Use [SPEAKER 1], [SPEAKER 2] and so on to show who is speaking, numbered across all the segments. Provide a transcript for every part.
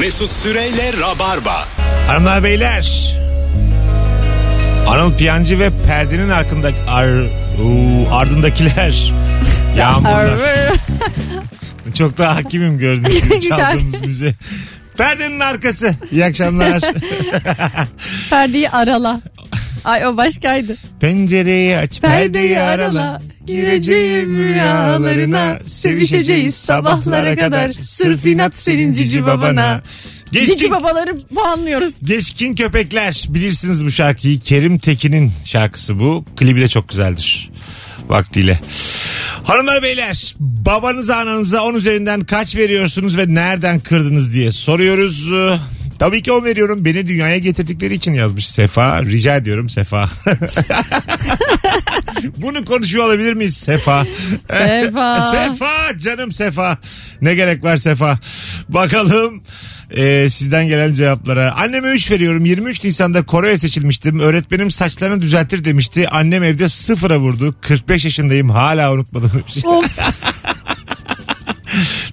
[SPEAKER 1] Mesut Süreyle Rabarba.
[SPEAKER 2] Hanımlar beyler. Anıl Piyancı ve perdenin arkında, ar, uu, ardındakiler. Yağmurlar. Çok daha hakimim gördüğünüz gibi
[SPEAKER 3] Güzel.
[SPEAKER 2] çaldığımız müziği. Perdenin arkası. İyi akşamlar.
[SPEAKER 3] Perdeyi arala. Ay o başkaydı.
[SPEAKER 2] Pencereyi aç, perdeyi,
[SPEAKER 3] Perdeyi
[SPEAKER 2] arala.
[SPEAKER 3] arala.
[SPEAKER 2] Gireceğim rüyalarına, sevişeceğiz sabahlara kadar. Sırf inat senin cici babana.
[SPEAKER 3] Cici
[SPEAKER 2] Geçkin,
[SPEAKER 3] babaları puanlıyoruz.
[SPEAKER 2] geçkin köpekler. Bilirsiniz bu şarkıyı. Kerim Tekin'in şarkısı bu. Klibi de çok güzeldir. Vaktiyle. Hanımlar beyler babanıza ananıza 10 üzerinden kaç veriyorsunuz ve nereden kırdınız diye soruyoruz. Ee, Tabii ki 10 veriyorum. Beni dünyaya getirdikleri için yazmış Sefa. Rica ediyorum Sefa. Bunu konuşuyor olabilir miyiz Sefa?
[SPEAKER 3] Sefa.
[SPEAKER 2] Eh, Sefa canım Sefa. Ne gerek var Sefa? Bakalım e, sizden gelen cevaplara. Anneme 3 veriyorum. 23 Nisan'da Kore'ye seçilmiştim. Öğretmenim saçlarını düzeltir demişti. Annem evde sıfıra vurdu. 45 yaşındayım hala unutmadım.
[SPEAKER 3] Of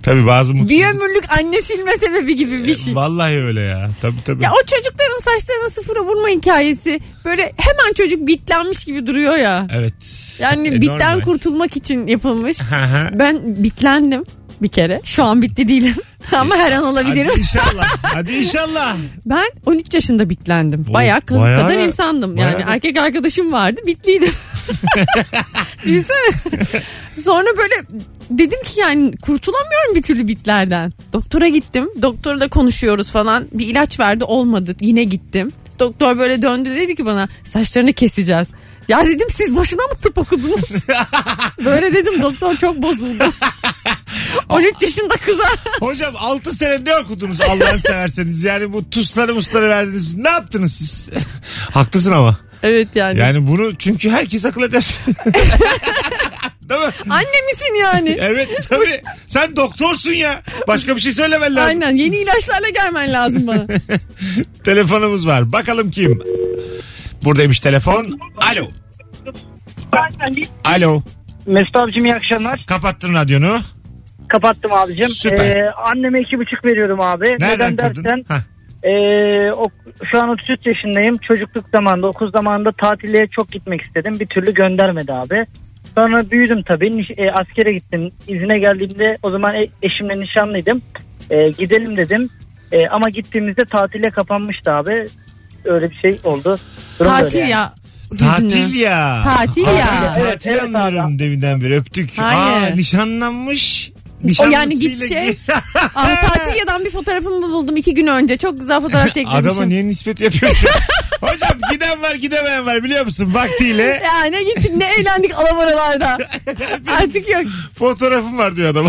[SPEAKER 2] Tabii bazı mutsuz.
[SPEAKER 3] bir ömürlük anne silme sebebi gibi bir şey.
[SPEAKER 2] Vallahi öyle ya. Tabii tabii.
[SPEAKER 3] Ya o çocukların saçlarını sıfıra vurma hikayesi böyle hemen çocuk bitlenmiş gibi duruyor ya.
[SPEAKER 2] Evet.
[SPEAKER 3] Yani
[SPEAKER 2] E,
[SPEAKER 3] bitten
[SPEAKER 2] normal.
[SPEAKER 3] kurtulmak için yapılmış.
[SPEAKER 2] Hı hı.
[SPEAKER 3] ben bitlendim bir kere. Şu an bitti değilim. Ama her an
[SPEAKER 2] Hadi
[SPEAKER 3] olabilirim.
[SPEAKER 2] inşallah. Hadi inşallah.
[SPEAKER 3] Ben 13 yaşında bitlendim. Bayağı kız
[SPEAKER 2] bayağı-
[SPEAKER 3] kadar insandım.
[SPEAKER 2] bayağı-
[SPEAKER 3] Yani erkek arkadaşım vardı. Bitliydim. Düşünsene. Sonra böyle dedim ki yani kurtulamıyorum bir türlü bitlerden. Doktora gittim. Doktorla konuşuyoruz falan. Bir ilaç verdi olmadı. Yine gittim. Doktor böyle döndü dedi ki bana saçlarını keseceğiz. Ya dedim siz boşuna mı tıp okudunuz? böyle dedim doktor çok bozuldu. 13 yaşında kıza.
[SPEAKER 2] Hocam 6 sene ne okudunuz Allah'ını severseniz? Yani bu tusları musları verdiniz. Ne yaptınız siz? Haklısın ama.
[SPEAKER 3] evet yani.
[SPEAKER 2] Yani bunu çünkü herkes akıl eder. Değil mi?
[SPEAKER 3] Anne misin yani?
[SPEAKER 2] Evet tabii. Sen doktorsun ya. Başka bir şey söylemen lazım.
[SPEAKER 3] Aynen yeni ilaçlarla gelmen lazım bana.
[SPEAKER 2] Telefonumuz var. Bakalım kim? Buradaymış telefon. Alo. Alo.
[SPEAKER 4] Mesut abicim iyi akşamlar.
[SPEAKER 2] Kapattın radyonu.
[SPEAKER 4] Kapattım abicim.
[SPEAKER 2] Süper.
[SPEAKER 4] Ee, anneme iki buçuk veriyorum abi.
[SPEAKER 2] Nereden
[SPEAKER 4] Neden
[SPEAKER 2] kırdın?
[SPEAKER 4] dersen
[SPEAKER 2] Hah.
[SPEAKER 4] ee, o, şu an 33 yaşındayım. Çocukluk zamanında okul zamanında tatile çok gitmek istedim. Bir türlü göndermedi abi. Sonra büyüdüm tabii. Niş- e, askere gittim. İzine geldiğimde o zaman e- eşimle nişanlıydım. E, gidelim dedim. E, ama gittiğimizde tatile kapanmıştı abi. Öyle bir şey oldu. Durum böyle
[SPEAKER 3] Tatil
[SPEAKER 4] yani.
[SPEAKER 3] ya.
[SPEAKER 2] Tatil
[SPEAKER 3] Hüznü.
[SPEAKER 2] ya.
[SPEAKER 3] Tatil
[SPEAKER 2] Aa,
[SPEAKER 3] ya.
[SPEAKER 2] Tatil
[SPEAKER 4] Evet, evet
[SPEAKER 2] anlıyorum deminden beri öptük.
[SPEAKER 3] Hayır.
[SPEAKER 2] Aa, nişanlanmış.
[SPEAKER 3] O yani
[SPEAKER 2] Nişanlısıyla
[SPEAKER 3] gidecek.
[SPEAKER 2] gi-
[SPEAKER 3] Aa, Tatilyadan bir fotoğrafımı buldum iki gün önce. Çok güzel fotoğraf
[SPEAKER 2] Adama
[SPEAKER 3] çekmişim.
[SPEAKER 2] niye nispet yapıyorsun? Hocam giden var gidemeyen var biliyor musun? Vaktiyle
[SPEAKER 3] Ya ne gittik ne eğlendik alamaralarda. Artık yok.
[SPEAKER 2] Fotoğrafım var diyor adam.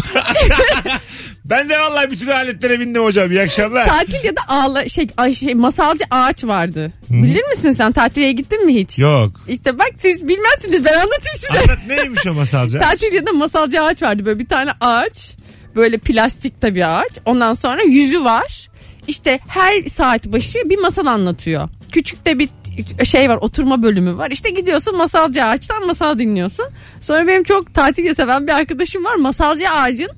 [SPEAKER 2] ben de vallahi bütün aletlere bindim hocam. İyi akşamlar.
[SPEAKER 3] Tatil ya da ağla, şey, ay şey, masalcı ağaç vardı. Bilir misin sen tatiliye gittin mi hiç?
[SPEAKER 2] Yok.
[SPEAKER 3] İşte bak siz bilmezsiniz ben anlatayım size.
[SPEAKER 2] Anlat neymiş o masalcı?
[SPEAKER 3] Tatil ya da masalcı ağaç vardı böyle bir tane ağaç. Böyle plastik tabii ağaç. Ondan sonra yüzü var. İşte her saat başı bir masal anlatıyor. Küçük de bir şey var oturma bölümü var. İşte gidiyorsun masalcı ağaçtan masal dinliyorsun. Sonra benim çok tatil seven bir arkadaşım var. Masalcı ağacın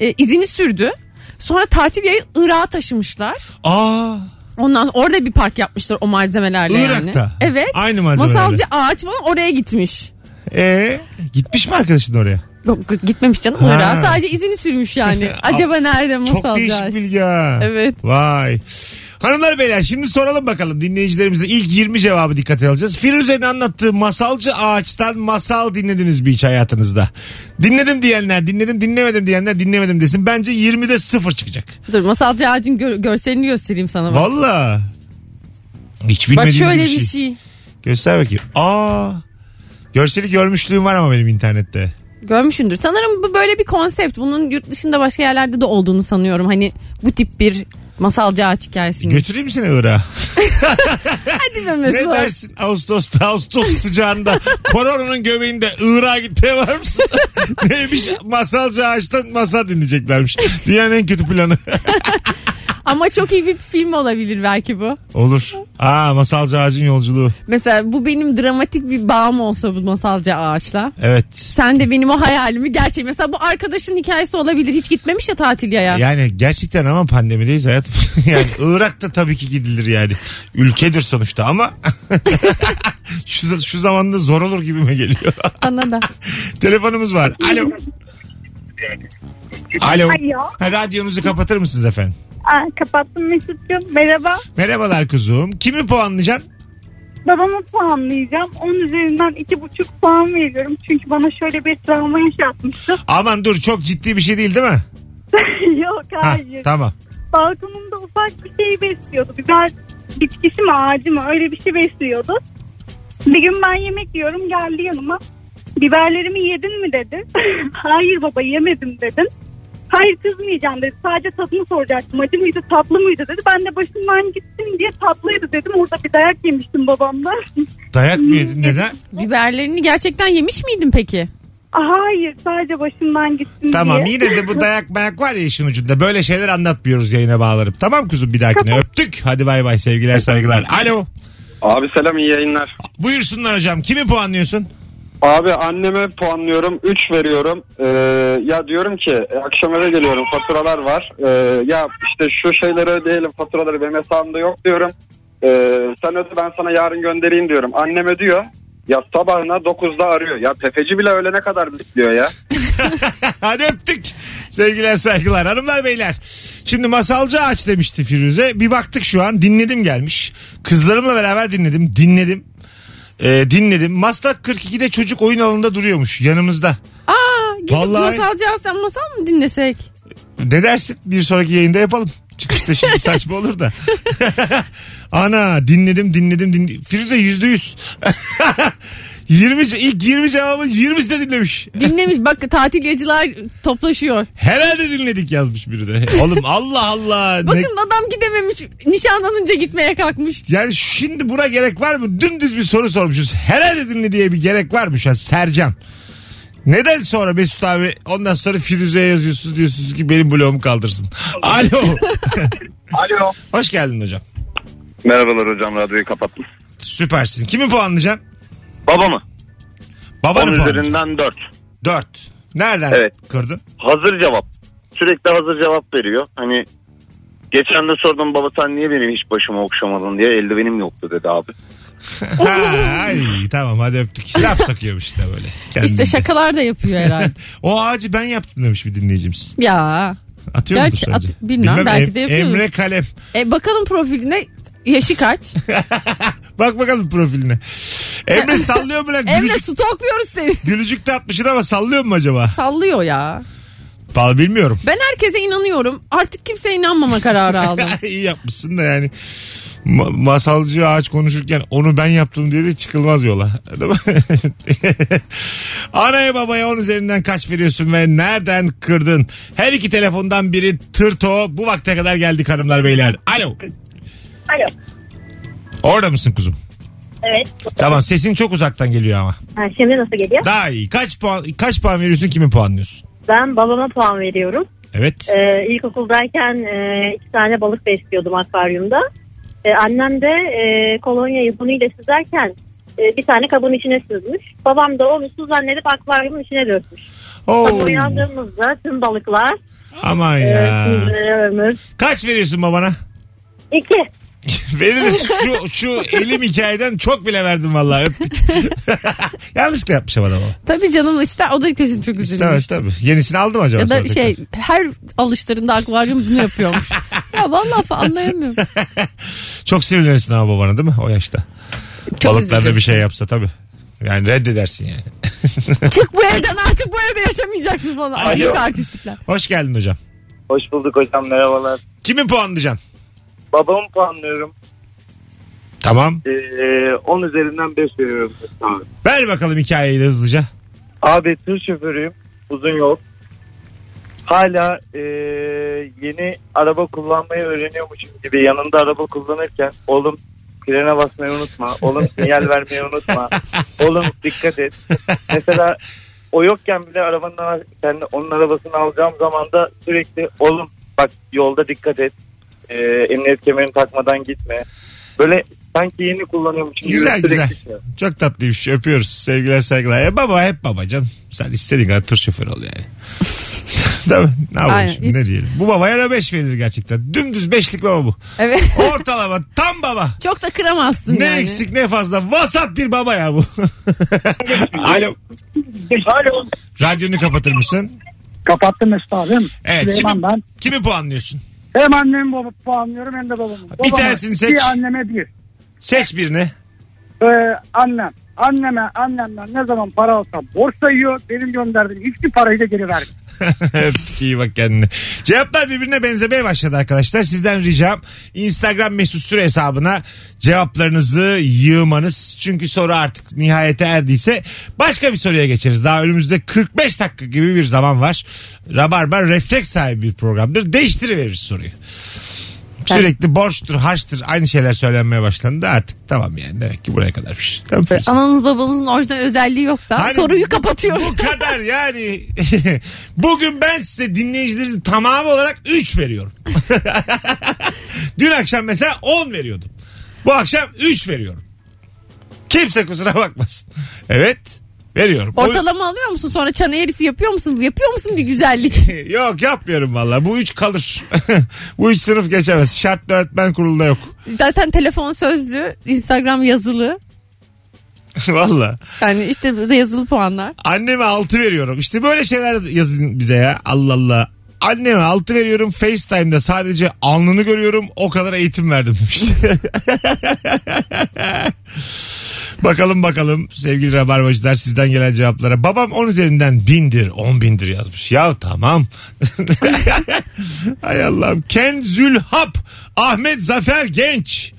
[SPEAKER 3] e, izini sürdü. Sonra tatil yayı Irak'a taşımışlar.
[SPEAKER 2] Aa,
[SPEAKER 3] Ondan orada bir park yapmışlar o malzemelerle yani.
[SPEAKER 2] Irak'ta.
[SPEAKER 3] Evet.
[SPEAKER 2] Aynı malzemelerle.
[SPEAKER 3] Masalcı ağaç falan oraya gitmiş.
[SPEAKER 2] ee, gitmiş mi arkadaşın oraya?
[SPEAKER 3] Yok gitmemiş canım
[SPEAKER 2] Ha.
[SPEAKER 3] Irak'a. Sadece izini sürmüş yani. Acaba nerede
[SPEAKER 2] Çok
[SPEAKER 3] masal
[SPEAKER 2] değişik
[SPEAKER 3] Cahit?
[SPEAKER 2] bilgi ha.
[SPEAKER 3] Evet.
[SPEAKER 2] Vay. Hanımlar beyler şimdi soralım bakalım dinleyicilerimize ilk 20 cevabı dikkate alacağız. Firuze'nin anlattığı masalcı ağaçtan masal dinlediniz mi hiç hayatınızda? Dinledim diyenler dinledim dinlemedim diyenler dinlemedim desin. Bence 20'de sıfır çıkacak.
[SPEAKER 3] Dur masalcı ağacın gör- görselini göstereyim sana. Bak,
[SPEAKER 2] Valla. Hiç
[SPEAKER 3] bak
[SPEAKER 2] bilmediğim
[SPEAKER 3] şöyle
[SPEAKER 2] bir şey. Göster bakayım. Aa. Görseli görmüşlüğüm var ama benim internette.
[SPEAKER 3] Görmüşsündür. Sanırım bu böyle bir konsept. Bunun yurt dışında başka yerlerde de olduğunu sanıyorum. Hani bu tip bir masalcı ağaç hikayesini.
[SPEAKER 2] Götüreyim mi seni Irak'a?
[SPEAKER 3] Hadi be Mesut.
[SPEAKER 2] Ne dersin Ağustos'ta, Ağustos sıcağında koronanın göbeğinde Irak'a gitmeye var mısın? Neymiş masalcı ağaçtan masal dinleyeceklermiş. Dünyanın en kötü planı.
[SPEAKER 3] Ama çok iyi bir film olabilir belki bu.
[SPEAKER 2] Olur. Aa masalcı ağacın yolculuğu.
[SPEAKER 3] Mesela bu benim dramatik bir bağım olsa bu masalca ağaçla.
[SPEAKER 2] Evet.
[SPEAKER 3] Sen de benim o hayalimi gerçek. Mesela bu arkadaşın hikayesi olabilir. Hiç gitmemiş ya tatil yaya.
[SPEAKER 2] Yani gerçekten ama pandemideyiz hayatım. yani Irak da tabii ki gidilir yani. Ülkedir sonuçta ama şu, şu zamanda zor olur gibime geliyor.
[SPEAKER 3] Bana da.
[SPEAKER 2] Telefonumuz var. Alo. Alo.
[SPEAKER 5] Alo.
[SPEAKER 2] Ha, radyonuzu kapatır mısınız efendim?
[SPEAKER 5] Aa, kapattım Mesut'cum. Merhaba.
[SPEAKER 2] Merhabalar kuzum. Kimi puanlayacaksın?
[SPEAKER 5] Babamı puanlayacağım. Onun üzerinden iki buçuk puan veriyorum. Çünkü bana şöyle bir travma yaşatmıştı.
[SPEAKER 2] Aman dur çok ciddi bir şey değil değil mi?
[SPEAKER 5] Yok
[SPEAKER 2] Ha,
[SPEAKER 5] hayır.
[SPEAKER 2] tamam.
[SPEAKER 5] Balkonumda ufak bir şey besliyordu. Biber bitkisi mi ağacı mı öyle bir şey besliyordu. Bir gün ben yemek yiyorum geldi yanıma. Biberlerimi yedin mi dedi. hayır baba yemedim dedim. Hayır kızmayacağım dedi. Sadece tadını soracaktım. Acı mıydı tatlı mıydı dedi. Ben de başımdan gittim diye tatlıydı dedim. Orada bir dayak yemiştim babamdan.
[SPEAKER 2] Dayak mı yedin neden?
[SPEAKER 3] Biberlerini gerçekten yemiş miydin peki?
[SPEAKER 5] Hayır sadece başımdan gittim
[SPEAKER 2] Tamam
[SPEAKER 5] diye.
[SPEAKER 2] yine de bu dayak mayak var ya işin ucunda. Böyle şeyler anlatmıyoruz yayına bağlanıp. Tamam kuzum bir dahakine öptük. Hadi bay bay sevgiler saygılar. Alo.
[SPEAKER 6] Abi selam iyi yayınlar.
[SPEAKER 2] Buyursunlar hocam. Kimi puanlıyorsun?
[SPEAKER 6] Abi anneme puanlıyorum 3 veriyorum. Ee, ya diyorum ki e, akşam eve geliyorum faturalar var. Ee, ya işte şu şeyleri ödeyelim faturaları benim hesabımda yok diyorum. Ee, sen öde ben sana yarın göndereyim diyorum. Annem ödüyor. Ya sabahına 9'da arıyor. Ya tefeci bile öğlene kadar bekliyor ya.
[SPEAKER 2] Hadi öptük. Sevgiler saygılar hanımlar beyler. Şimdi masalcı ağaç demişti Firuze. Bir baktık şu an dinledim gelmiş. Kızlarımla beraber dinledim. Dinledim. Ee, dinledim. Maslak 42'de çocuk oyun alanında duruyormuş yanımızda.
[SPEAKER 3] Aa gidip
[SPEAKER 2] Vallahi-
[SPEAKER 3] masalcı sen masal mı dinlesek?
[SPEAKER 2] Ne dersin? Bir sonraki yayında yapalım. Çıkışta şimdi saçma olur da. Ana dinledim dinledim dinledim. Firuze yüzde yüz. 20, ce- ilk 20 cevabın 20'si de dinlemiş.
[SPEAKER 3] Dinlemiş bak tatilyacılar toplaşıyor.
[SPEAKER 2] Herhalde dinledik yazmış biri de. Oğlum Allah Allah. ne-
[SPEAKER 3] Bakın adam gidememiş nişanlanınca gitmeye kalkmış.
[SPEAKER 2] Yani şimdi buna gerek var mı? Dümdüz bir soru sormuşuz. Herhalde dinle diye bir gerek var mı şu an Sercan? Neden sonra Mesut abi ondan sonra Firuze'ye yazıyorsunuz diyorsunuz ki benim bloğumu kaldırsın. Alo.
[SPEAKER 6] Alo.
[SPEAKER 2] Hoş geldin hocam.
[SPEAKER 6] Merhabalar hocam radyoyu kapattım.
[SPEAKER 2] Süpersin. Kimi puanlayacaksın?
[SPEAKER 6] Babamı
[SPEAKER 2] Babanı
[SPEAKER 6] 10
[SPEAKER 2] puanlayacaksın.
[SPEAKER 6] üzerinden 4.
[SPEAKER 2] 4. Nereden
[SPEAKER 6] Evet.
[SPEAKER 2] kırdın?
[SPEAKER 6] hazır cevap. Sürekli hazır cevap veriyor. Hani geçen de sordum baba sen niye benim hiç başımı okşamadın diye eldivenim yoktu dedi abi.
[SPEAKER 2] Ha, ay, tamam hadi öptük. Laf sokuyormuş işte böyle.
[SPEAKER 3] İşte
[SPEAKER 2] Kendince.
[SPEAKER 3] şakalar da yapıyor herhalde.
[SPEAKER 2] O ağacı ben yaptım demiş bir dinleyicimiz.
[SPEAKER 3] ya.
[SPEAKER 2] Atıyor mudur
[SPEAKER 3] Gerçi
[SPEAKER 2] sence?
[SPEAKER 3] at- bilmem, belki de yapıyordur.
[SPEAKER 2] Emre Kalem.
[SPEAKER 3] E bakalım profiline yaşı kaç?
[SPEAKER 2] Bak bakalım profiline. Emre sallıyor mu lan?
[SPEAKER 3] Emre
[SPEAKER 2] Gülücük-
[SPEAKER 3] stokluyoruz seni.
[SPEAKER 2] Gülücük de atmışsın ama sallıyor mu acaba?
[SPEAKER 3] Sallıyor ya.
[SPEAKER 2] Vallahi bilmiyorum.
[SPEAKER 3] Ben herkese inanıyorum. Artık kimseye inanmama kararı aldım.
[SPEAKER 2] İyi yapmışsın da yani. Ma- masalcı ağaç konuşurken onu ben yaptım diye de çıkılmaz yola. Değil mi? Anaya babaya on üzerinden kaç veriyorsun ve nereden kırdın? Her iki telefondan biri tırto. Bu vakte kadar geldik hanımlar beyler. Alo.
[SPEAKER 5] Alo.
[SPEAKER 2] Orada mısın kuzum?
[SPEAKER 5] Evet.
[SPEAKER 2] Tamam sesin çok uzaktan geliyor ama.
[SPEAKER 5] Ha, şimdi nasıl geliyor?
[SPEAKER 2] Daha iyi. Kaç puan kaç puan veriyorsun kimi puanlıyorsun?
[SPEAKER 5] Ben babama puan veriyorum.
[SPEAKER 2] Evet.
[SPEAKER 5] Ee, ilkokuldayken e, iki tane balık besliyordum akvaryumda. Ee, annem de e, kolonyayı bunuyla süzerken e, bir tane kabın içine sızmış. Babam da onu su zannedip akvaryumun içine dökmüş. Sabah
[SPEAKER 2] Oo.
[SPEAKER 5] uyandığımızda tüm balıklar
[SPEAKER 2] Aman
[SPEAKER 5] e,
[SPEAKER 2] ya.
[SPEAKER 5] süzülmüş.
[SPEAKER 2] Kaç veriyorsun babana?
[SPEAKER 5] İki.
[SPEAKER 2] Verilir. Şu, şu elim hikayeden çok bile verdim vallahi öptük. Yanlışlıkla yapmışım adamı.
[SPEAKER 3] Tabii canım ister. O da kesin çok üzülmüş.
[SPEAKER 2] İstemez tabii. Yenisini aldım acaba?
[SPEAKER 3] Ya
[SPEAKER 2] sonra
[SPEAKER 3] da
[SPEAKER 2] tekrar?
[SPEAKER 3] şey her alışlarında akvaryum bunu yapıyormuş. ya vallahi fa- anlayamıyorum.
[SPEAKER 2] Çok sinirlenirsin ama babana değil mi o yaşta?
[SPEAKER 3] Çok
[SPEAKER 2] Balıklarda
[SPEAKER 3] üzülürsün.
[SPEAKER 2] bir şey yapsa tabii. Yani reddedersin yani.
[SPEAKER 3] Çık bu evden artık bu evde yaşamayacaksın falan.
[SPEAKER 2] Alo.
[SPEAKER 3] Ayıp artistlikler.
[SPEAKER 2] Hoş geldin hocam.
[SPEAKER 1] Hoş bulduk hocam merhabalar.
[SPEAKER 2] Kimi puanlayacaksın?
[SPEAKER 1] Babamı puanlıyorum.
[SPEAKER 2] Tamam.
[SPEAKER 1] Ee, 10 üzerinden 5 veriyorum. Abi.
[SPEAKER 2] Ver bakalım hikayeyi de hızlıca.
[SPEAKER 1] abi tır şoförüyüm. Uzun yol. Hala ee, yeni araba kullanmayı öğreniyormuşum gibi yanında araba kullanırken oğlum frene basmayı unutma. Oğlum sinyal vermeyi unutma. Oğlum dikkat et. Mesela o yokken bile arabanın ar- kendi onun arabasını alacağım zaman da sürekli oğlum bak yolda dikkat et.
[SPEAKER 7] e, emniyet kemerini takmadan gitme. Böyle sanki yeni kullanıyormuşum. gibi
[SPEAKER 2] Güzel,
[SPEAKER 7] sürekli
[SPEAKER 2] güzel.
[SPEAKER 7] şey.
[SPEAKER 2] Çok tatlıymış. Öpüyoruz. Sevgiler saygılar. E baba hep babacan. Sen istediğin kadar tır şoförü ol yani. Değil mi? Ne yapalım
[SPEAKER 3] Aynen.
[SPEAKER 2] şimdi? Ne diyelim? Bu babaya da 5 verilir gerçekten. Dümdüz beşlik baba bu.
[SPEAKER 3] Evet.
[SPEAKER 2] Ortalama tam baba.
[SPEAKER 3] Çok da kıramazsın
[SPEAKER 2] Ne
[SPEAKER 3] yani.
[SPEAKER 2] eksik ne fazla. Vasat bir baba ya bu. Alo.
[SPEAKER 4] Alo.
[SPEAKER 2] Radyonu kapatır mısın?
[SPEAKER 4] Kapattım Mesut abim.
[SPEAKER 2] Evet.
[SPEAKER 4] Süleyman
[SPEAKER 2] Kimi,
[SPEAKER 4] ben.
[SPEAKER 2] kimi puanlıyorsun?
[SPEAKER 4] Hem annemi baba puanlıyorum hem de babamı.
[SPEAKER 2] Bir tanesini seç.
[SPEAKER 4] Bir anneme bir.
[SPEAKER 2] Seç birini.
[SPEAKER 4] Ee, annem. Anneme annemden ne zaman para alsam borsa yiyor. Benim gönderdiğim hiçbir parayı da geri vermiyor.
[SPEAKER 2] Öptük iyi bak kendine. Cevaplar birbirine benzemeye başladı arkadaşlar. Sizden ricam Instagram mesut süre hesabına cevaplarınızı yığmanız. Çünkü soru artık nihayete erdiyse başka bir soruya geçeriz. Daha önümüzde 45 dakika gibi bir zaman var. Rabarba refleks sahibi bir programdır. Değiştiriveririz soruyu. Sürekli borçtur, harçtır aynı şeyler söylenmeye başlandı artık. Tamam yani demek ki buraya kadarmış. Tamam.
[SPEAKER 3] Ananız babanızın orijinal özelliği yoksa
[SPEAKER 2] Hani
[SPEAKER 3] soruyu kapatıyoruz.
[SPEAKER 2] Bu kadar yani. Bugün ben size dinleyicilerin tamamı olarak 3 veriyorum. Dün akşam mesela 10 veriyordum. Bu akşam 3 veriyorum. Kimse kusura bakmasın. Evet veriyorum. O-
[SPEAKER 3] Ortalama alıyor musun? Sonra çan eğrisi yapıyor musun? Yapıyor musun bir güzellik?
[SPEAKER 2] Yok yapmıyorum valla. Bu 3 kalır. Bu 3 sınıf geçemez. Şartlı öğretmen kurulunda yok.
[SPEAKER 3] Zaten telefon sözlü, Instagram yazılı.
[SPEAKER 2] valla.
[SPEAKER 3] Yani işte burada yazılı puanlar.
[SPEAKER 2] Anneme 6 veriyorum. İşte böyle şeyler yazın bize ya. Allah Allah. Anneme 6 veriyorum. FaceTime'da sadece alnını görüyorum. O kadar eğitim verdim demiş. bakalım bakalım sevgili rabarbacılar sizden gelen cevaplara. Babam 10 üzerinden 1000'dir 10 bindir yazmış. Ya tamam. Hay Allah'ım. Ken Zülhap Ahmet Zafer Genç.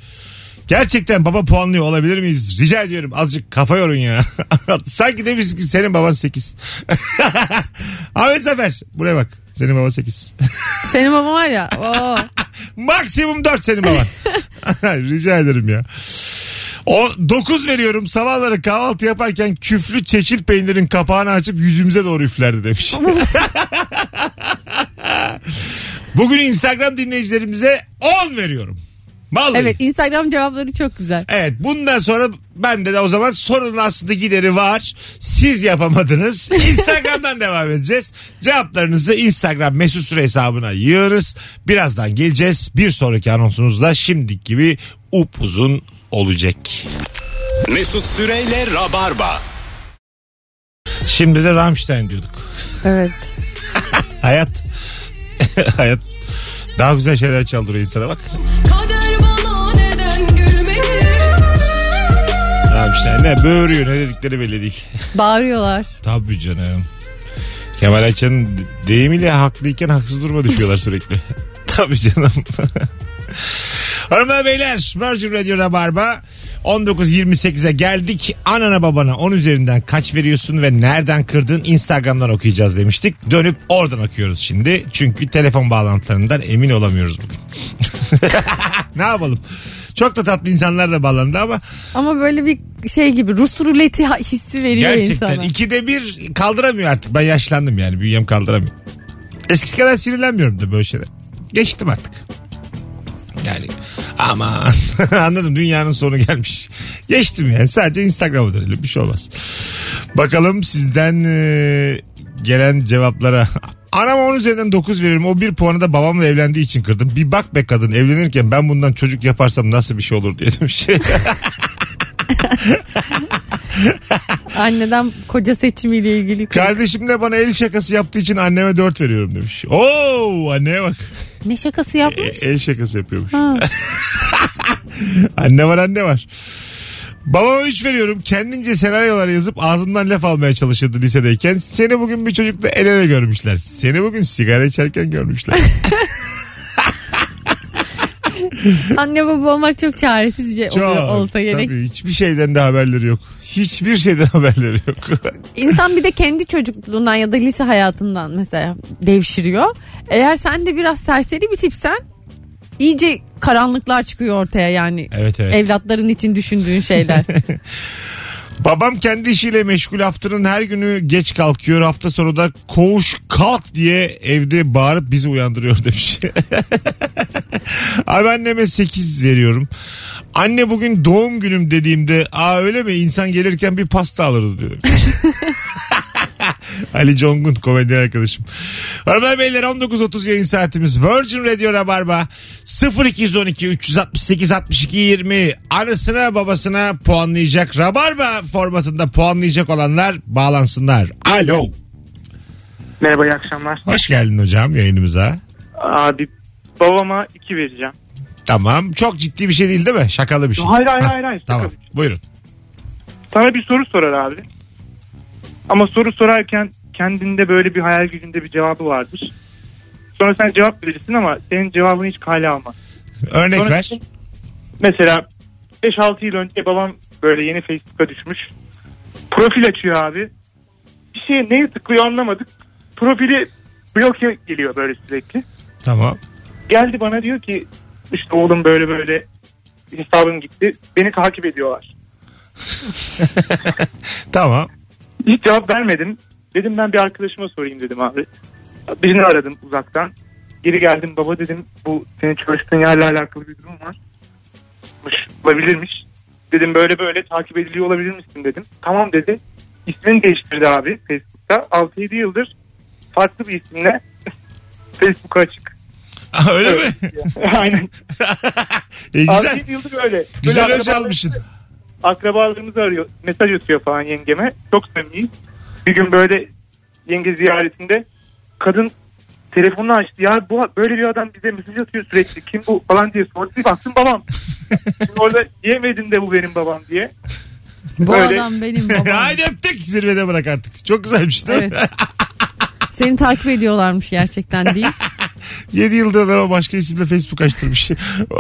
[SPEAKER 2] Gerçekten baba puanlıyor olabilir miyiz? Rica ediyorum azıcık kafa yorun ya. Sanki demişsin ki senin baban 8. Ahmet Zafer buraya bak. Senin baban 8.
[SPEAKER 3] Senin babam var ya. Oo.
[SPEAKER 2] Maksimum 4 senin baban. Rica ederim ya. O 9 veriyorum. Sabahları kahvaltı yaparken küflü çeşil peynirin kapağını açıp yüzümüze doğru üflerdi demiş. Bugün Instagram dinleyicilerimize 10 veriyorum. Vallahi.
[SPEAKER 3] Evet Instagram cevapları çok güzel.
[SPEAKER 2] Evet bundan sonra bende de o zaman sorunun aslında gideri var. Siz yapamadınız. Instagram'dan devam edeceğiz. Cevaplarınızı Instagram mesut süre hesabına yığınız. Birazdan geleceğiz. Bir sonraki anonsumuzda şimdiki gibi upuzun olacak.
[SPEAKER 1] Mesut Süreyle Rabarba.
[SPEAKER 2] Şimdi de Rammstein diyorduk.
[SPEAKER 3] Evet.
[SPEAKER 2] Hayat. Hayat. Daha güzel şeyler çaldırıyor insana bak.
[SPEAKER 5] Kader bana neden gülmedi?
[SPEAKER 2] Rammstein ne böğürüyor ne dedikleri belli değil.
[SPEAKER 3] Bağırıyorlar.
[SPEAKER 2] Tabii canım. Kemal Ayça'nın deyimiyle haklıyken haksız duruma düşüyorlar sürekli. Tabii canım. Hanımlar beyler Virgin Radio Rabarba 19.28'e geldik. Anana babana 10 üzerinden kaç veriyorsun ve nereden kırdın Instagram'dan okuyacağız demiştik. Dönüp oradan okuyoruz şimdi. Çünkü telefon bağlantılarından emin olamıyoruz bugün. ne yapalım? Çok da tatlı insanlar da bağlandı ama
[SPEAKER 3] Ama böyle bir şey gibi Rus ruleti ha- hissi veriyor
[SPEAKER 2] Gerçekten
[SPEAKER 3] insana.
[SPEAKER 2] ikide bir kaldıramıyor artık. Ben yaşlandım yani bünyem kaldıramıyor. Eskisi kadar sinirlenmiyorum da böyle şeyler. Geçtim artık. Yani aman anladım dünyanın sonu gelmiş. Geçtim yani sadece Instagram'a dönelim bir şey olmaz. Bakalım sizden e, gelen cevaplara. Anam 10 üzerinden 9 veririm. O bir puanı da babamla evlendiği için kırdım. Bir bak be kadın evlenirken ben bundan çocuk yaparsam nasıl bir şey olur diye demiş.
[SPEAKER 3] Anneden koca seçimiyle ilgili.
[SPEAKER 2] Kardeşim de bana el şakası yaptığı için anneme dört veriyorum demiş. Oo anneye bak.
[SPEAKER 3] Ne şakası
[SPEAKER 2] E-
[SPEAKER 3] yapmış?
[SPEAKER 2] el şakası yapıyormuş. anne var anne var. Babama 3 veriyorum. Kendince senaryolar yazıp ağzımdan laf almaya çalışırdı lisedeyken. Seni bugün bir çocukla el ele görmüşler. Seni bugün sigara içerken görmüşler.
[SPEAKER 3] Anne baba olmak çok çaresizce
[SPEAKER 2] E- Çok.
[SPEAKER 3] oluyor- olsa gerek.
[SPEAKER 2] Tabii hiçbir şeyden de haberleri yok. Hiçbir şeyden haberleri yok.
[SPEAKER 3] İnsan bir de kendi çocukluğundan ya da lise hayatından mesela devşiriyor. Eğer sen de biraz serseri bir tipsen iyice karanlıklar çıkıyor ortaya yani.
[SPEAKER 2] evet evet.
[SPEAKER 3] Evlatların için düşündüğün şeyler.
[SPEAKER 2] Babam kendi işiyle meşgul haftanın her günü geç kalkıyor. Hafta sonu da koğuş kalk diye evde bağırıp bizi uyandırıyor demiş. Abi anneme 8 veriyorum. Anne bugün doğum günüm dediğimde aa öyle mi insan gelirken bir pasta alırdı diyor. Ali Congun komedyen arkadaşım. Hanımlar beyler 19.30 yayın saatimiz Virgin Radio Rabarba 0212 368 62 20 anısına babasına puanlayacak Rabarba formatında puanlayacak olanlar bağlansınlar. Alo.
[SPEAKER 8] Merhaba iyi akşamlar.
[SPEAKER 2] Hoş geldin hocam yayınımıza.
[SPEAKER 8] Abi babama 2 vereceğim.
[SPEAKER 2] Tamam. Çok ciddi bir şey değil değil mi? Şakalı bir şey.
[SPEAKER 8] Hayır, hayır,
[SPEAKER 2] Ha,
[SPEAKER 8] hayır, hayır. Şaka
[SPEAKER 2] Tamam.
[SPEAKER 8] bir şey.
[SPEAKER 2] Buyurun.
[SPEAKER 8] Sana bir soru sorar abi. Ama soru sorarken kendinde böyle bir hayal gücünde bir cevabı vardır. Sonra sen cevap verirsin ama senin cevabını hiç kale almaz.
[SPEAKER 2] Örnek
[SPEAKER 8] Sonra
[SPEAKER 2] ver.
[SPEAKER 8] sen- Mesela 5-6 yıl önce babam böyle yeni Facebook'a düşmüş. Profil açıyor abi. Bir şeye neye tıklıyor anlamadık. Profili bloke geliyor böyle sürekli.
[SPEAKER 2] Tamam.
[SPEAKER 8] Geldi bana diyor ki işte oğlum böyle böyle hesabım gitti. Beni takip ediyorlar.
[SPEAKER 2] Tamam.
[SPEAKER 8] Hiç cevap vermedim. Dedim ben bir arkadaşıma sorayım dedim abi. Birini aradım uzaktan. Geri geldim baba dedim bu senin çalıştığın yerle alakalı bir durum var. Olabilirmiş. Dedim böyle böyle takip ediliyor olabilir misin dedim. Tamam dedi. İsmini değiştirdi abi Facebook'ta. 6-7 yıldır farklı bir isimle Facebook'a açık.
[SPEAKER 2] Aa, Ah, öyle mi?
[SPEAKER 8] Aynen.
[SPEAKER 2] E, güzel.
[SPEAKER 8] 6-7 yıldır böyle.
[SPEAKER 2] Güzel
[SPEAKER 8] Böyle
[SPEAKER 2] ölçü
[SPEAKER 8] arabalar-
[SPEAKER 2] almışsın.
[SPEAKER 8] akrabalarımızı arıyor. Mesaj atıyor falan yengeme. Çok samimiyiz. Bir gün böyle yenge ziyaretinde kadın telefonunu açtı. Ya bu böyle bir adam bize mesaj atıyor sürekli. Kim bu falan diye sordu. Bir baktım babam. Şimdi orada yemedim de bu benim babam diye.
[SPEAKER 3] Bu
[SPEAKER 8] Öyle.
[SPEAKER 3] adam benim babam.
[SPEAKER 2] Haydi öptük. Zirvede bırak artık. Çok güzelmiş değil mi?
[SPEAKER 3] Seni takip ediyorlarmış gerçekten değil.
[SPEAKER 2] 7 yıldır adama başka isimle Facebook açtırmış.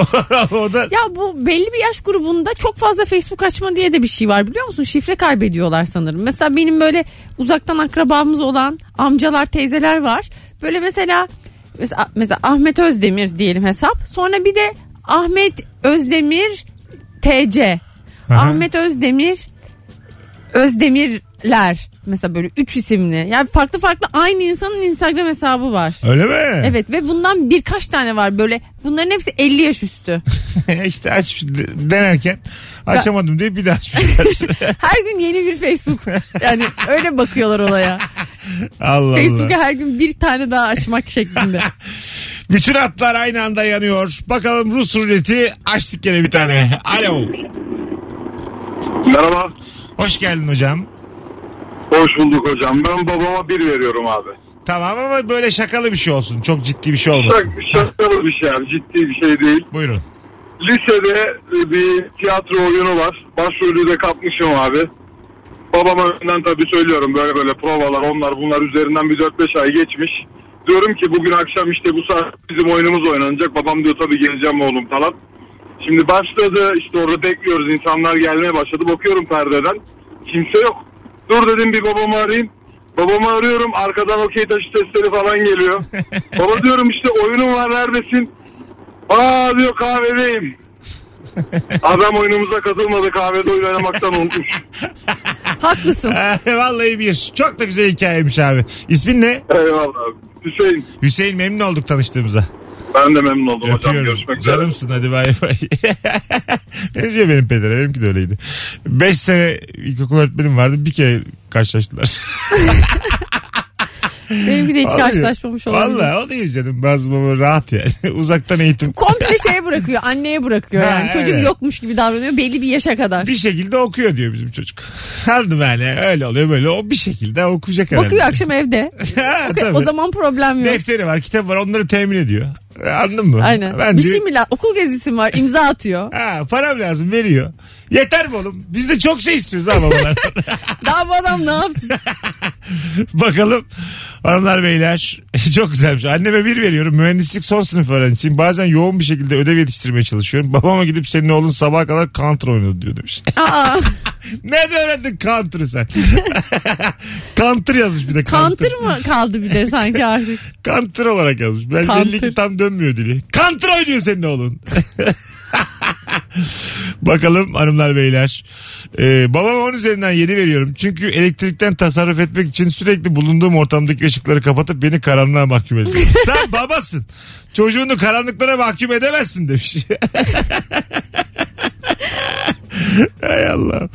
[SPEAKER 2] o da
[SPEAKER 3] Ya bu belli bir yaş grubunda çok fazla Facebook açma diye de bir şey var biliyor musun? Şifre kaybediyorlar sanırım. Mesela benim böyle uzaktan akrabamız olan amcalar, teyzeler var. Böyle mesela mesela, mesela Ahmet Özdemir diyelim hesap. Sonra bir de Ahmet Özdemir TC.
[SPEAKER 2] Aha.
[SPEAKER 3] Ahmet Özdemir Özdemirler mesela böyle üç isimli. Yani farklı farklı aynı insanın Instagram hesabı var.
[SPEAKER 2] Öyle mi?
[SPEAKER 3] Evet ve bundan birkaç tane var böyle. Bunların hepsi 50 yaş üstü.
[SPEAKER 2] işte açmış denerken açamadım diye bir daha açmışlar.
[SPEAKER 3] Her gün yeni bir Facebook. Yani öyle bakıyorlar olaya.
[SPEAKER 2] Allah
[SPEAKER 3] Facebook'u
[SPEAKER 2] Allah.
[SPEAKER 3] her gün bir tane daha açmak şeklinde.
[SPEAKER 2] Bütün hatlar aynı anda yanıyor. Bakalım Rus ruleti açtık gene bir tane. Alo.
[SPEAKER 9] Merhaba.
[SPEAKER 2] Hoş geldin hocam.
[SPEAKER 9] Hoş bulduk hocam. Ben babama bir veriyorum abi.
[SPEAKER 2] Tamam ama böyle şakalı bir şey olsun. Çok ciddi bir şey olmasın.
[SPEAKER 9] şakalı bir şey abi. Ciddi bir şey değil.
[SPEAKER 2] Buyurun.
[SPEAKER 9] Lisede e, bir tiyatro oyunu var. Başrolü de kapmışım abi. Babama önden tabii söylüyorum böyle böyle provalar onlar bunlar üzerinden bir 4-5 ay geçmiş. Diyorum ki bugün akşam işte bu saat bizim oyunumuz oynanacak. Babam diyor tabii geleceğim oğlum falan. Şimdi başladı işte orada bekliyoruz insanlar gelmeye başladı. Bakıyorum perdeden kimse yok. Dur dedim bir babamı arayayım. Babamı arıyorum arkadan okey taşı sesleri falan geliyor. Baba diyorum işte oyunum var neredesin? Aa diyor kahvedeyim. Adam oyunumuza katılmadı kahvede oyun oynamaktan olmuş.
[SPEAKER 3] Haklısın.
[SPEAKER 2] Vallahi bir. Çok da güzel hikayemiş abi. İsmin ne?
[SPEAKER 9] Eyvallah abi. Hüseyin
[SPEAKER 2] Hüseyin memnun olduk tanıştığımıza.
[SPEAKER 9] ben de memnun oldum hocam.
[SPEAKER 2] Öpüyorum.
[SPEAKER 9] Görüşmek üzere.
[SPEAKER 2] Canımsın hadi bay bay. Benziyor benim pedere. Benimki de öyleydi. 5 sene ilkokul öğretmenim vardı. Bir kere karşılaştılar.
[SPEAKER 3] Benimki de hiç
[SPEAKER 2] Vallahi-
[SPEAKER 3] karşılaşmamış olabilir.
[SPEAKER 2] Vallahi o değil canım. Bazı baba rahat yani. Uzaktan eğitim.
[SPEAKER 3] Komple şeye bırakıyor. Anneye bırakıyor
[SPEAKER 2] Ha,
[SPEAKER 3] yani. Çocuk
[SPEAKER 2] evet.
[SPEAKER 3] yokmuş gibi davranıyor belli bir yaşa kadar.
[SPEAKER 2] Bir şekilde okuyor diyor bizim çocuk. Anladım yani öyle oluyor böyle. O bir şekilde okuyacak herhalde.
[SPEAKER 3] Bakıyor akşam evde.
[SPEAKER 2] Ha,
[SPEAKER 3] Okey,
[SPEAKER 2] tabii.
[SPEAKER 3] o zaman problem yok.
[SPEAKER 2] Defteri var, kitap var onları temin ediyor. Anladın mı?
[SPEAKER 3] Aynen.
[SPEAKER 2] Ben
[SPEAKER 3] bir
[SPEAKER 2] diyor,
[SPEAKER 3] şey mi la- Okul gezisi mi var? İmza atıyor.
[SPEAKER 2] Ha, param lazım veriyor. Yeter mi oğlum? Biz de çok şey istiyoruz ha babalardan.
[SPEAKER 3] Daha bu adam ne yapsın?
[SPEAKER 2] Bakalım hanımlar beyler çok güzelmiş. Anneme bir veriyorum mühendislik son sınıf öğrencisiyim. Bazen yoğun bir şekilde ödev yetiştirmeye çalışıyorum. Babama gidip senin oğlun sabaha kadar counter oynadı diyor demiş.
[SPEAKER 3] Aa,
[SPEAKER 2] Nerede öğrendin counter'ı sen? counter yazmış bir de
[SPEAKER 3] counter mı kaldı bir de sanki artık?
[SPEAKER 2] Counter olarak yazmış. Ben
[SPEAKER 3] Counter.
[SPEAKER 2] belli ki tam dönmüyor dili. Counter oynuyor senin oğlun. Bakalım hanımlar beyler. Ee, babama 10 üzerinden 7 veriyorum. Çünkü elektrikten tasarruf etmek için sürekli bulunduğum ortamdaki ışıkları kapatıp beni karanlığa mahkum ediyor. Sen babasın. Çocuğunu karanlıklara mahkum edemezsin demiş. Hay Allah.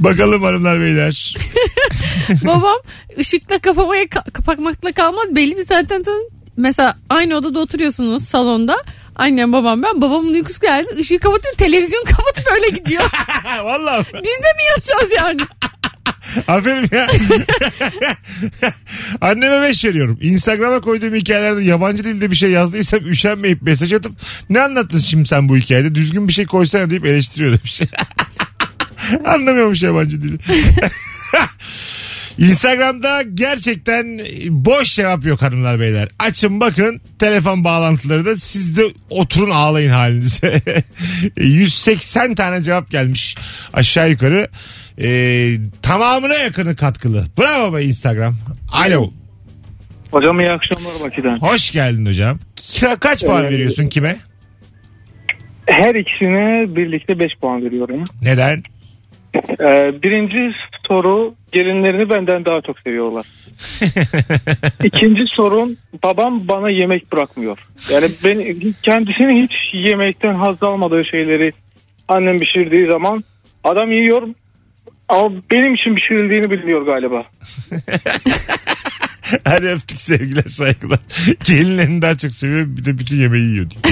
[SPEAKER 2] Bakalım hanımlar beyler.
[SPEAKER 3] Babam ışıkla kafamaya ka- kapakmakla kalmaz. Belli bir saatten sonra mesela aynı odada oturuyorsunuz salonda. Annem babam ben babamın uykusu geldi ışığı kapatıyor televizyon kapatıp öyle gidiyor.
[SPEAKER 2] Vallahi
[SPEAKER 3] Biz de mi yatacağız yani?
[SPEAKER 2] Aferin ya. Anneme 5 veriyorum. Instagram'a koyduğum hikayelerde yabancı dilde bir şey yazdıysam üşenmeyip mesaj atıp ne anlattın şimdi sen bu hikayede düzgün bir şey koysana deyip eleştiriyor demiş. Anlamıyormuş yabancı dili. Instagram'da gerçekten boş cevap yok hanımlar beyler. Açın bakın telefon bağlantıları da siz de oturun ağlayın halinize. 180 tane cevap gelmiş aşağı yukarı. Ee, tamamına yakını katkılı. Bravo be Instagram. Alo.
[SPEAKER 7] Hocam iyi akşamlar Bakü'den.
[SPEAKER 2] Hoş geldin hocam. Ka- kaç puan
[SPEAKER 7] Ee,
[SPEAKER 2] veriyorsun kime?
[SPEAKER 7] Her ikisine birlikte 5 puan veriyorum.
[SPEAKER 2] Neden?
[SPEAKER 7] Ee, birinci soru gelinlerini benden daha çok seviyorlar. İkinci sorun babam bana yemek bırakmıyor. Yani ben kendisini hiç yemekten haz almadığı şeyleri annem pişirdiği zaman adam yiyor ama benim için pişirildiğini biliyor galiba.
[SPEAKER 2] Hadi öptük sevgiler saygılar. Gelinlerini daha çok seviyor bir de bütün yemeği yiyor diyor.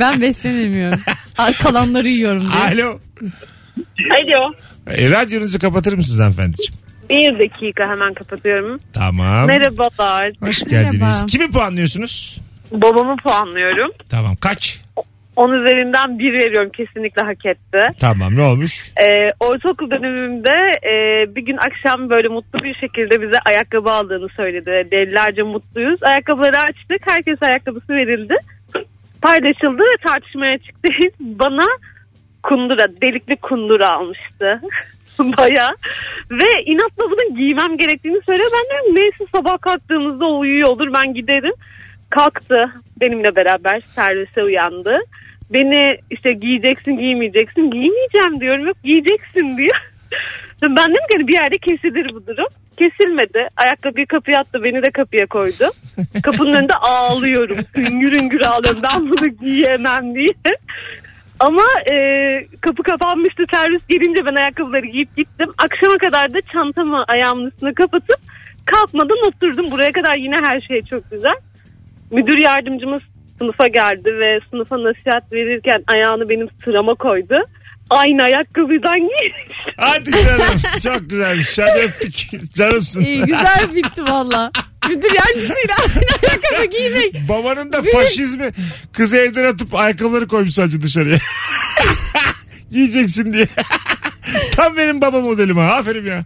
[SPEAKER 3] Ben beslenemiyorum. Aa, Kalanları yiyorum diye.
[SPEAKER 2] Alo.
[SPEAKER 10] Alo.
[SPEAKER 2] E, radyonuzu kapatır mısınız hanımefendiciğim?
[SPEAKER 10] Bir dakika hemen kapatıyorum.
[SPEAKER 2] Tamam.
[SPEAKER 10] Merhabalar.
[SPEAKER 2] Hoş geldiniz.
[SPEAKER 3] Merhaba.
[SPEAKER 2] Kimi puanlıyorsunuz?
[SPEAKER 10] Babamı puanlıyorum.
[SPEAKER 2] Tamam kaç?
[SPEAKER 10] 10 üzerinden bir veriyorum kesinlikle hak etti.
[SPEAKER 2] Tamam ne olmuş?
[SPEAKER 10] Ee, ortaokul dönemimde e, bir gün akşam böyle mutlu bir şekilde bize ayakkabı aldığını söyledi. Delilerce mutluyuz. Ayakkabıları açtık. Herkes ayakkabısı verildi. Paylaşıldı ve tartışmaya çıktı. Bana kundura, delikli kundura almıştı. Baya. Ve inatla bunu giymem gerektiğini söylüyor. Ben diyorum neyse sabah kalktığımızda o uyuyordur ben giderim. Kalktı benimle beraber servise uyandı. Beni işte giyeceksin giymeyeceksin giymeyeceğim diyorum yok giyeceksin diyor. Ben dedim ki hani bir yerde kesilir bu durum. Kesilmedi. Ayakkabıyı kapıya attı beni de kapıya koydu. Kapının önünde ağlıyorum. Üngür üngür ağlıyorum ben bunu giyemem diye. Ama e, kapı kapanmıştı servis gelince ben ayakkabıları giyip gittim. Akşama kadar da çantamı ayağımın üstüne kapatıp kalkmadan oturdum. Buraya kadar yine her şey çok güzel. Müdür yardımcımız sınıfa geldi ve sınıfa nasihat verirken ayağını benim sırama koydu. Aynı ayakkabıdan giymiş.
[SPEAKER 2] Hadi canım. Çok güzelmiş. Hadi öptük. Canımsın.
[SPEAKER 3] İyi, güzel bitti valla. Müdür yancısıyla aynı ayakkabı giymek.
[SPEAKER 2] Babanın da faşizmi kızı evden atıp ayakkabıları koymuş sadece dışarıya. Giyeceksin diye. Tam benim baba modelim ha. Aferin ya.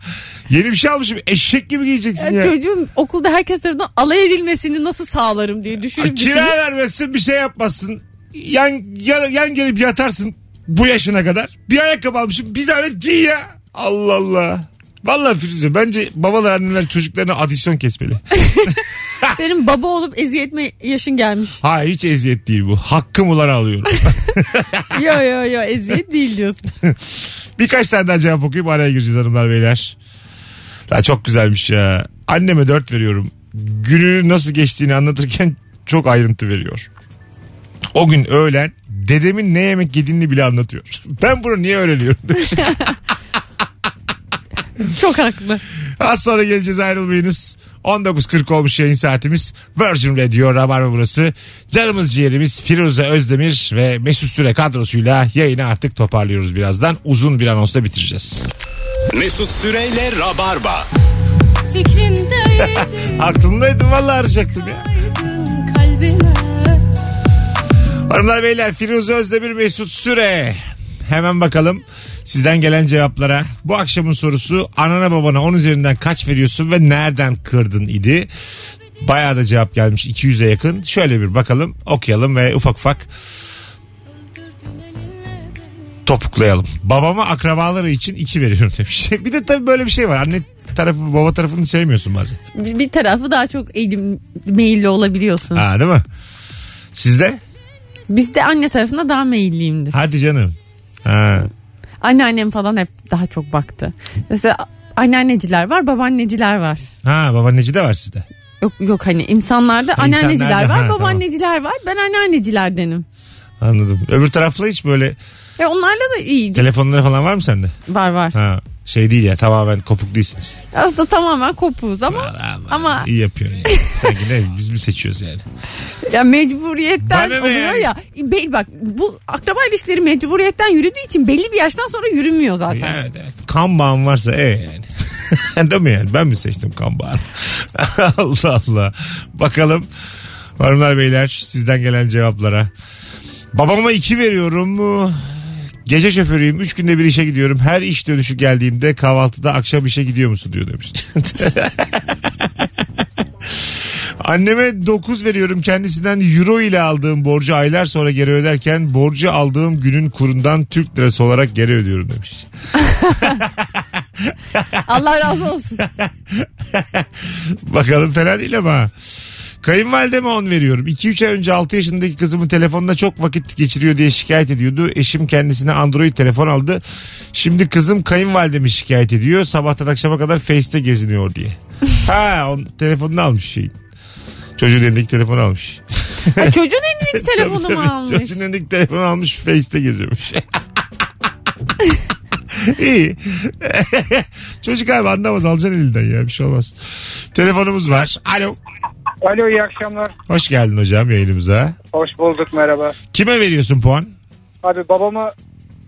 [SPEAKER 2] Yeni bir şey almışım. Eşek gibi giyeceksin
[SPEAKER 3] Ya
[SPEAKER 2] ya.
[SPEAKER 3] Çocuğum okulda herkes tarafından alay edilmesini nasıl sağlarım diye düşünüp
[SPEAKER 2] Kira
[SPEAKER 3] düşünüp.
[SPEAKER 2] vermezsin bir şey yapmazsın. Yan, yan, yan gelip yatarsın bu yaşına kadar. Bir ayakkabı almışım bir zahmet giy ya. Allah Allah. Vallahi Firuze bence babalar anneler çocuklarına adisyon kesmeli.
[SPEAKER 3] Senin baba olup eziyet mi yaşın gelmiş?
[SPEAKER 2] Ha hiç eziyet değil bu. Hakkım ulan alıyorum.
[SPEAKER 3] yo yo yo eziyet değil diyorsun.
[SPEAKER 2] Birkaç tane daha cevap okuyup araya gireceğiz hanımlar beyler. Daha çok güzelmiş ya. Anneme dört veriyorum. Günü nasıl geçtiğini anlatırken çok ayrıntı veriyor. O gün öğlen dedemin ne yemek yediğini bile anlatıyor. Ben bunu niye öğreniyorum?
[SPEAKER 3] Çok haklı.
[SPEAKER 2] Az sonra geleceğiz ayrılmayınız. 19.40 olmuş yayın saatimiz. Virgin Radio Rabarba burası. Canımız ciğerimiz Firuze Özdemir ve Mesut Süre kadrosuyla yayını artık toparlıyoruz birazdan. Uzun bir anonsla bitireceğiz.
[SPEAKER 1] Mesut Süreyle Rabarba.
[SPEAKER 5] Fikrindeydin
[SPEAKER 2] Aklımdaydı valla arayacaktım ya.
[SPEAKER 5] aydın kalbime
[SPEAKER 2] Hanımlar beyler Firuze Özdemir Mesut Süre. Hemen bakalım sizden gelen cevaplara. Bu akşamın sorusu anana babana 10 üzerinden kaç veriyorsun ve nereden kırdın idi? Bayağı da cevap gelmiş 200'e yakın. Şöyle bir bakalım okuyalım ve ufak ufak
[SPEAKER 5] Öldürdün elinle beni
[SPEAKER 2] topuklayalım. Babama akrabaları için 2 veriyorum demiş. bir de tabii böyle bir şey var. Anne tarafı baba tarafını sevmiyorsun bazen.
[SPEAKER 3] Bir, bir tarafı daha çok eğilim meyilli olabiliyorsun.
[SPEAKER 2] Ha değil mi? Sizde?
[SPEAKER 3] Biz de anne tarafına daha meyilliyimdir.
[SPEAKER 2] Hadi canım. Ha.
[SPEAKER 3] Anneannem falan hep daha çok baktı. Mesela anneanneciler var, babaanneciler var.
[SPEAKER 2] Ha babaanneci de var sizde.
[SPEAKER 3] Yok yok hani insanlarda
[SPEAKER 2] Ha, insanlarda,
[SPEAKER 3] anneanneciler
[SPEAKER 2] ha,
[SPEAKER 3] var,
[SPEAKER 2] tamam.
[SPEAKER 3] babaanneciler var. Ben anneannecilerdenim.
[SPEAKER 2] Anladım. Öbür tarafla hiç böyle
[SPEAKER 3] E onlarla da iyiydi.
[SPEAKER 2] telefonları falan var mı sende?
[SPEAKER 3] Var var.
[SPEAKER 2] Ha. Şey değil ya tamamen kopuk değilsiniz.
[SPEAKER 3] Aslında tamamen kopuğuz ama
[SPEAKER 2] Aman,
[SPEAKER 3] Ama-
[SPEAKER 2] iyi yapıyorsun yani. Sanki ne biz mi seçiyoruz yani?
[SPEAKER 3] ya mecburiyetten
[SPEAKER 2] Bana ne
[SPEAKER 3] oluyor
[SPEAKER 2] yani?
[SPEAKER 3] ya. E, Belli bak bu akraba ilişkileri mecburiyetten yürüdüğü için belli bir yaştan sonra yürümüyor zaten.
[SPEAKER 2] Evet evet. Kan bağım varsa e yani. Değil mi yani? Ben mi seçtim kan bağını? Allah Allah. Bakalım hanımlar beyler sizden gelen cevaplara. Babama iki veriyorum mu? Gece şoförüyüm. Üç günde bir işe gidiyorum. Her iş dönüşü geldiğimde kahvaltıda akşam işe gidiyor musun diyor demiş. Anneme 9 veriyorum kendisinden euro ile aldığım borcu aylar sonra geri öderken borcu aldığım günün kurundan Türk lirası olarak geri ödüyorum demiş.
[SPEAKER 3] Allah razı olsun.
[SPEAKER 2] Bakalım fena değil ama. Kayınvalideme 10 veriyorum. 2-3 ay önce 6 yaşındaki kızımın telefonunda çok vakit geçiriyor diye şikayet ediyordu. Eşim kendisine Android telefon aldı. Şimdi kızım kayınvalidemi şikayet ediyor. Sabahtan akşama kadar Face'te geziniyor diye. ha on, telefonunu almış şey. Çocuğun elindeki telefonu almış.
[SPEAKER 3] Ya E, çocuğun elindeki telefonu mu
[SPEAKER 2] Tabii,
[SPEAKER 3] almış?
[SPEAKER 2] Çocuğun elindeki telefonu almış Face'te geziyormuş. İyi. Çocuk abi anlamaz alacaksın elinden ya bir şey olmaz. Telefonumuz var. Alo.
[SPEAKER 7] Alo iyi akşamlar.
[SPEAKER 2] Hoş geldin hocam yayınımıza.
[SPEAKER 7] Hoş bulduk merhaba.
[SPEAKER 2] Kime veriyorsun puan?
[SPEAKER 7] Abi babama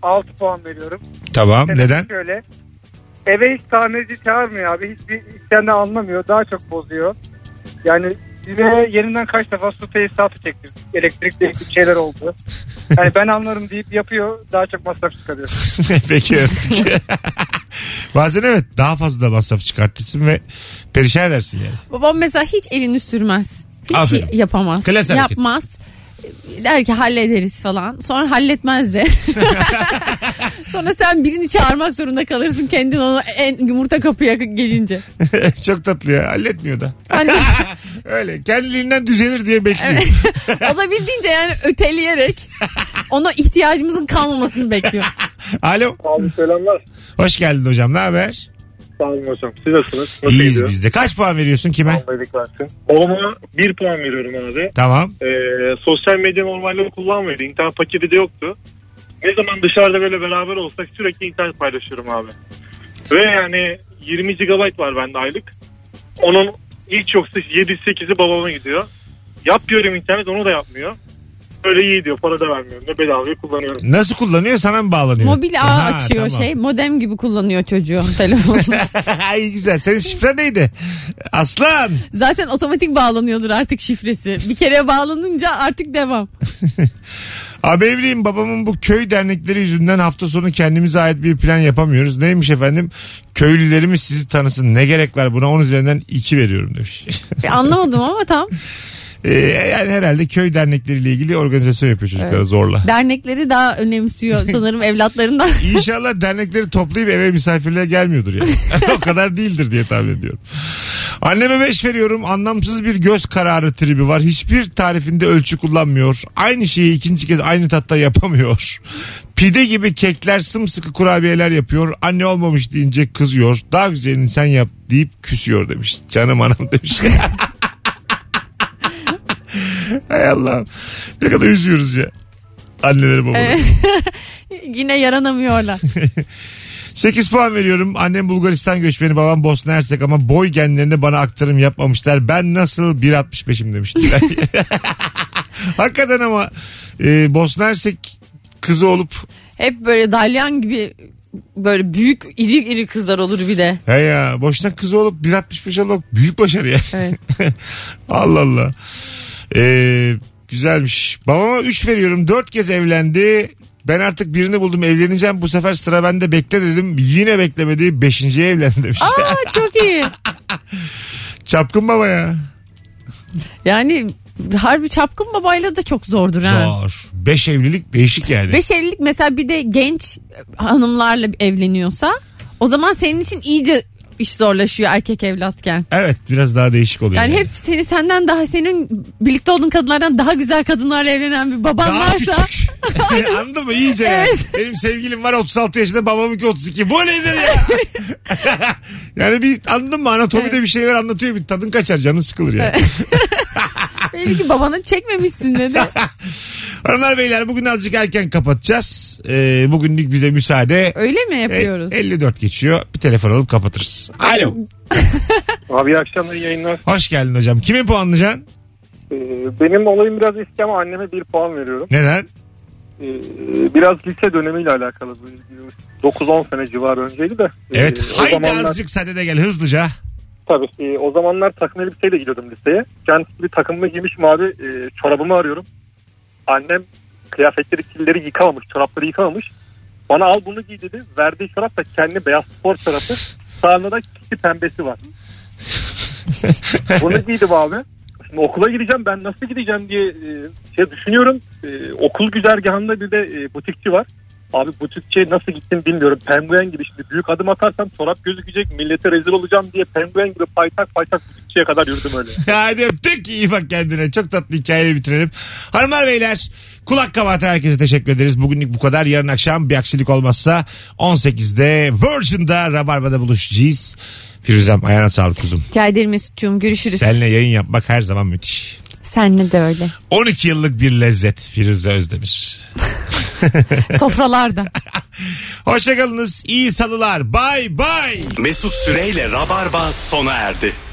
[SPEAKER 7] 6 puan veriyorum.
[SPEAKER 2] Tamam.
[SPEAKER 7] Sebebi
[SPEAKER 2] Neden?
[SPEAKER 7] Şöyle. Eve hiç tamirci çağırmıyor abi. Hiçbir işten de anlamıyor. Daha çok bozuyor. Yani bize yerinden kaç defa su tesisatı çekti. Elektrikle ilgili şeyler oldu. Yani ben anlarım deyip yapıyor. Daha çok masraf çıkarıyor.
[SPEAKER 2] Peki öptük. Bazen evet daha fazla da masraf çıkartırsın ve perişan edersin yani.
[SPEAKER 3] Babam mesela hiç elini sürmez. Hiç
[SPEAKER 2] Aferin.
[SPEAKER 3] yapamaz.
[SPEAKER 2] Klas hareket.
[SPEAKER 3] yapmaz. Der ki hallederiz falan. Sonra halletmez de. Sonra sen birini çağırmak zorunda kalırsın kendin onu en, yumurta kapıya gelince.
[SPEAKER 2] Çok tatlı ya halletmiyor da.
[SPEAKER 3] Hani
[SPEAKER 2] Öyle kendiliğinden düzelir diye bekliyor.
[SPEAKER 3] olabildiğince yani öteleyerek ona ihtiyacımızın kalmamasını bekliyor.
[SPEAKER 2] Alo.
[SPEAKER 7] Abi selamlar.
[SPEAKER 2] Hoş geldin hocam ne haber?
[SPEAKER 7] Sağ olun hocam. Siz nasılsınız?
[SPEAKER 2] İyiyiz biz de. Kaç puan veriyorsun kime?
[SPEAKER 7] Babama 1 puan veriyorum abi.
[SPEAKER 2] Tamam.
[SPEAKER 7] Ee, sosyal medya normalde kullanmıyordu. İnternet paketi de yoktu. Ne zaman dışarıda böyle beraber olsak sürekli internet paylaşıyorum abi. Ve yani 20 GB var bende aylık. Onun hiç yoksa 7-8'i babama gidiyor. Yap diyorum internet onu da yapmıyor. Böyle iyi diyor para da vermiyorum. Ne bedavaya kullanıyorum.
[SPEAKER 2] Nasıl kullanıyor sana mı bağlanıyor?
[SPEAKER 3] Mobil ağ
[SPEAKER 2] Ha,
[SPEAKER 3] açıyor
[SPEAKER 2] tamam.
[SPEAKER 3] şey modem gibi kullanıyor çocuğun telefonunu.
[SPEAKER 2] Ay güzel. Senin şifren neydi? Aslan.
[SPEAKER 3] Zaten otomatik bağlanıyordur artık şifresi. Bir kere bağlanınca artık devam.
[SPEAKER 2] Abi evliyim babamın bu köy dernekleri yüzünden hafta sonu kendimize ait bir plan yapamıyoruz. Neymiş efendim? Köylülerimiz sizi tanısın. Ne gerek var buna? 10 üzerinden 2 veriyorum demiş.
[SPEAKER 3] E, Anlamadım ama tam.
[SPEAKER 2] Ee, yani herhalde köy dernekleriyle ilgili organizasyon yapıyor çocuklara zorla.
[SPEAKER 3] Dernekleri daha önemsiyor sanırım evlatlarından.
[SPEAKER 2] İnşallah dernekleri toplayıp eve misafirliğe gelmiyordur yani. o kadar değildir diye tahmin ediyorum. Anneme 5 veriyorum. Anlamsız bir göz kararı tribi var. Hiçbir tarifinde ölçü kullanmıyor. Aynı şeyi ikinci kez aynı tatta yapamıyor. Pide gibi kekler sımsıkı kurabiyeler yapıyor. Anne olmamış deyince kızıyor. Daha güzelini sen yap deyip küsüyor demiş. Canım anam demiş. Hay Allah. Ne kadar üzüyoruz ya. Anneleri babaları.
[SPEAKER 3] Yine yaranamıyorlar.
[SPEAKER 2] 8 puan veriyorum. Annem Bulgaristan göçmeni, babam Bosna Hersek ama boy genlerini bana aktarım yapmamışlar. Ben nasıl 1.65'im demiş. Dilay. Hakikaten ama e, Bosna Hersek kızı olup
[SPEAKER 3] Hep böyle dalyan gibi böyle büyük iri iri kızlar olur bir de.
[SPEAKER 2] he ya boşnak kızı olup 1.65 olmak büyük başarı ya.
[SPEAKER 3] Evet.
[SPEAKER 2] Allah Allah. E, güzelmiş. Babama 3 veriyorum. 4 kez evlendi. Ben artık birini buldum evleneceğim bu sefer sıra bende bekle dedim. Yine beklemedi 5. evlendi demiş.
[SPEAKER 3] Aa çok iyi.
[SPEAKER 2] Çapkın baba ya.
[SPEAKER 3] Yani harbi çapkın babayla da çok zordur ha.
[SPEAKER 2] Zor. Beş evlilik değişik yani.
[SPEAKER 3] Beş evlilik mesela bir de genç hanımlarla evleniyorsa o zaman senin için iyice iş zorlaşıyor erkek evlatken.
[SPEAKER 2] Evet biraz daha değişik oluyor.
[SPEAKER 3] Yani
[SPEAKER 2] yani.
[SPEAKER 3] hep seni senden daha senin birlikte olduğun kadınlardan daha güzel kadınlarla evlenen bir baban
[SPEAKER 2] daha
[SPEAKER 3] varsa
[SPEAKER 2] küçük. Anladın mı? İyice yani.
[SPEAKER 3] Evet.
[SPEAKER 2] Benim sevgilim var 36 yaşında babamınki 32. Bu nedir ya? yani bir anladın mı? Anatomide bir şeyler anlatıyor. Bir tadın kaçar canın sıkılır yani.
[SPEAKER 3] belli ki babana çekmemişsin dedi.
[SPEAKER 2] Hanımlar beyler bugün azıcık erken kapatacağız. Ee, bugünlük bize müsaade.
[SPEAKER 3] Öyle mi yapıyoruz?
[SPEAKER 2] E, 54 geçiyor. Bir telefon alıp kapatırız. Alo.
[SPEAKER 7] Abi iyi akşamlar iyi yayınlar.
[SPEAKER 2] Hoş geldin hocam. Kimi puanlayacaksın?
[SPEAKER 7] Ee, benim olayım biraz eski ama anneme bir puan veriyorum.
[SPEAKER 2] Neden?
[SPEAKER 7] Ee, biraz lise dönemiyle alakalı. bu 9-10 sene civarı önceydi de.
[SPEAKER 2] Evet.
[SPEAKER 7] Ee,
[SPEAKER 2] Haydi azıcık sadede gel hızlıca.
[SPEAKER 7] Tabii. Ee, o zamanlar takım elbiseyle gidiyordum liseye. Kendisi bir takımımı giymişim abi. Ee, çorabımı arıyorum. Annem kıyafetleri, killeri yıkamamış. Çorapları yıkamamış. Bana al bunu giy dedi. Verdiği çorap da kendi beyaz spor çorabı. Sağında da kişi pembesi var. bunu giydim abi. Şimdi okula gideceğim ben nasıl gideceğim diye e, şey düşünüyorum. E, okul güzergahında bir de e, butikçi var. Abi butikçiye nasıl gittim bilmiyorum. Penguen gibi şimdi büyük adım atarsam çorap gözükecek millete rezil olacağım diye penguen gibi paytak paytak butikçiye kadar yürüdüm öyle.
[SPEAKER 2] Hadi öptük. İyi bak kendine. Çok tatlı hikayeyi bitirelim. Hanımlar beyler kulak kabahatan herkese teşekkür ederiz. Bugünlük bu kadar. Yarın akşam bir aksilik olmazsa 18'de Virgin'da Rabarba'da buluşacağız. Firuzem ayağına sağlık kuzum.
[SPEAKER 3] Rica ederim Mesut'cum görüşürüz.
[SPEAKER 2] Seninle yayın yapmak her zaman müthiş.
[SPEAKER 3] Senle de öyle.
[SPEAKER 2] 12 yıllık bir lezzet Firuze Özdemir.
[SPEAKER 3] Sofralarda.
[SPEAKER 2] Hoşçakalınız. İyi salılar. Bay bay.
[SPEAKER 1] Mesut Süreyle Rabarba sona erdi.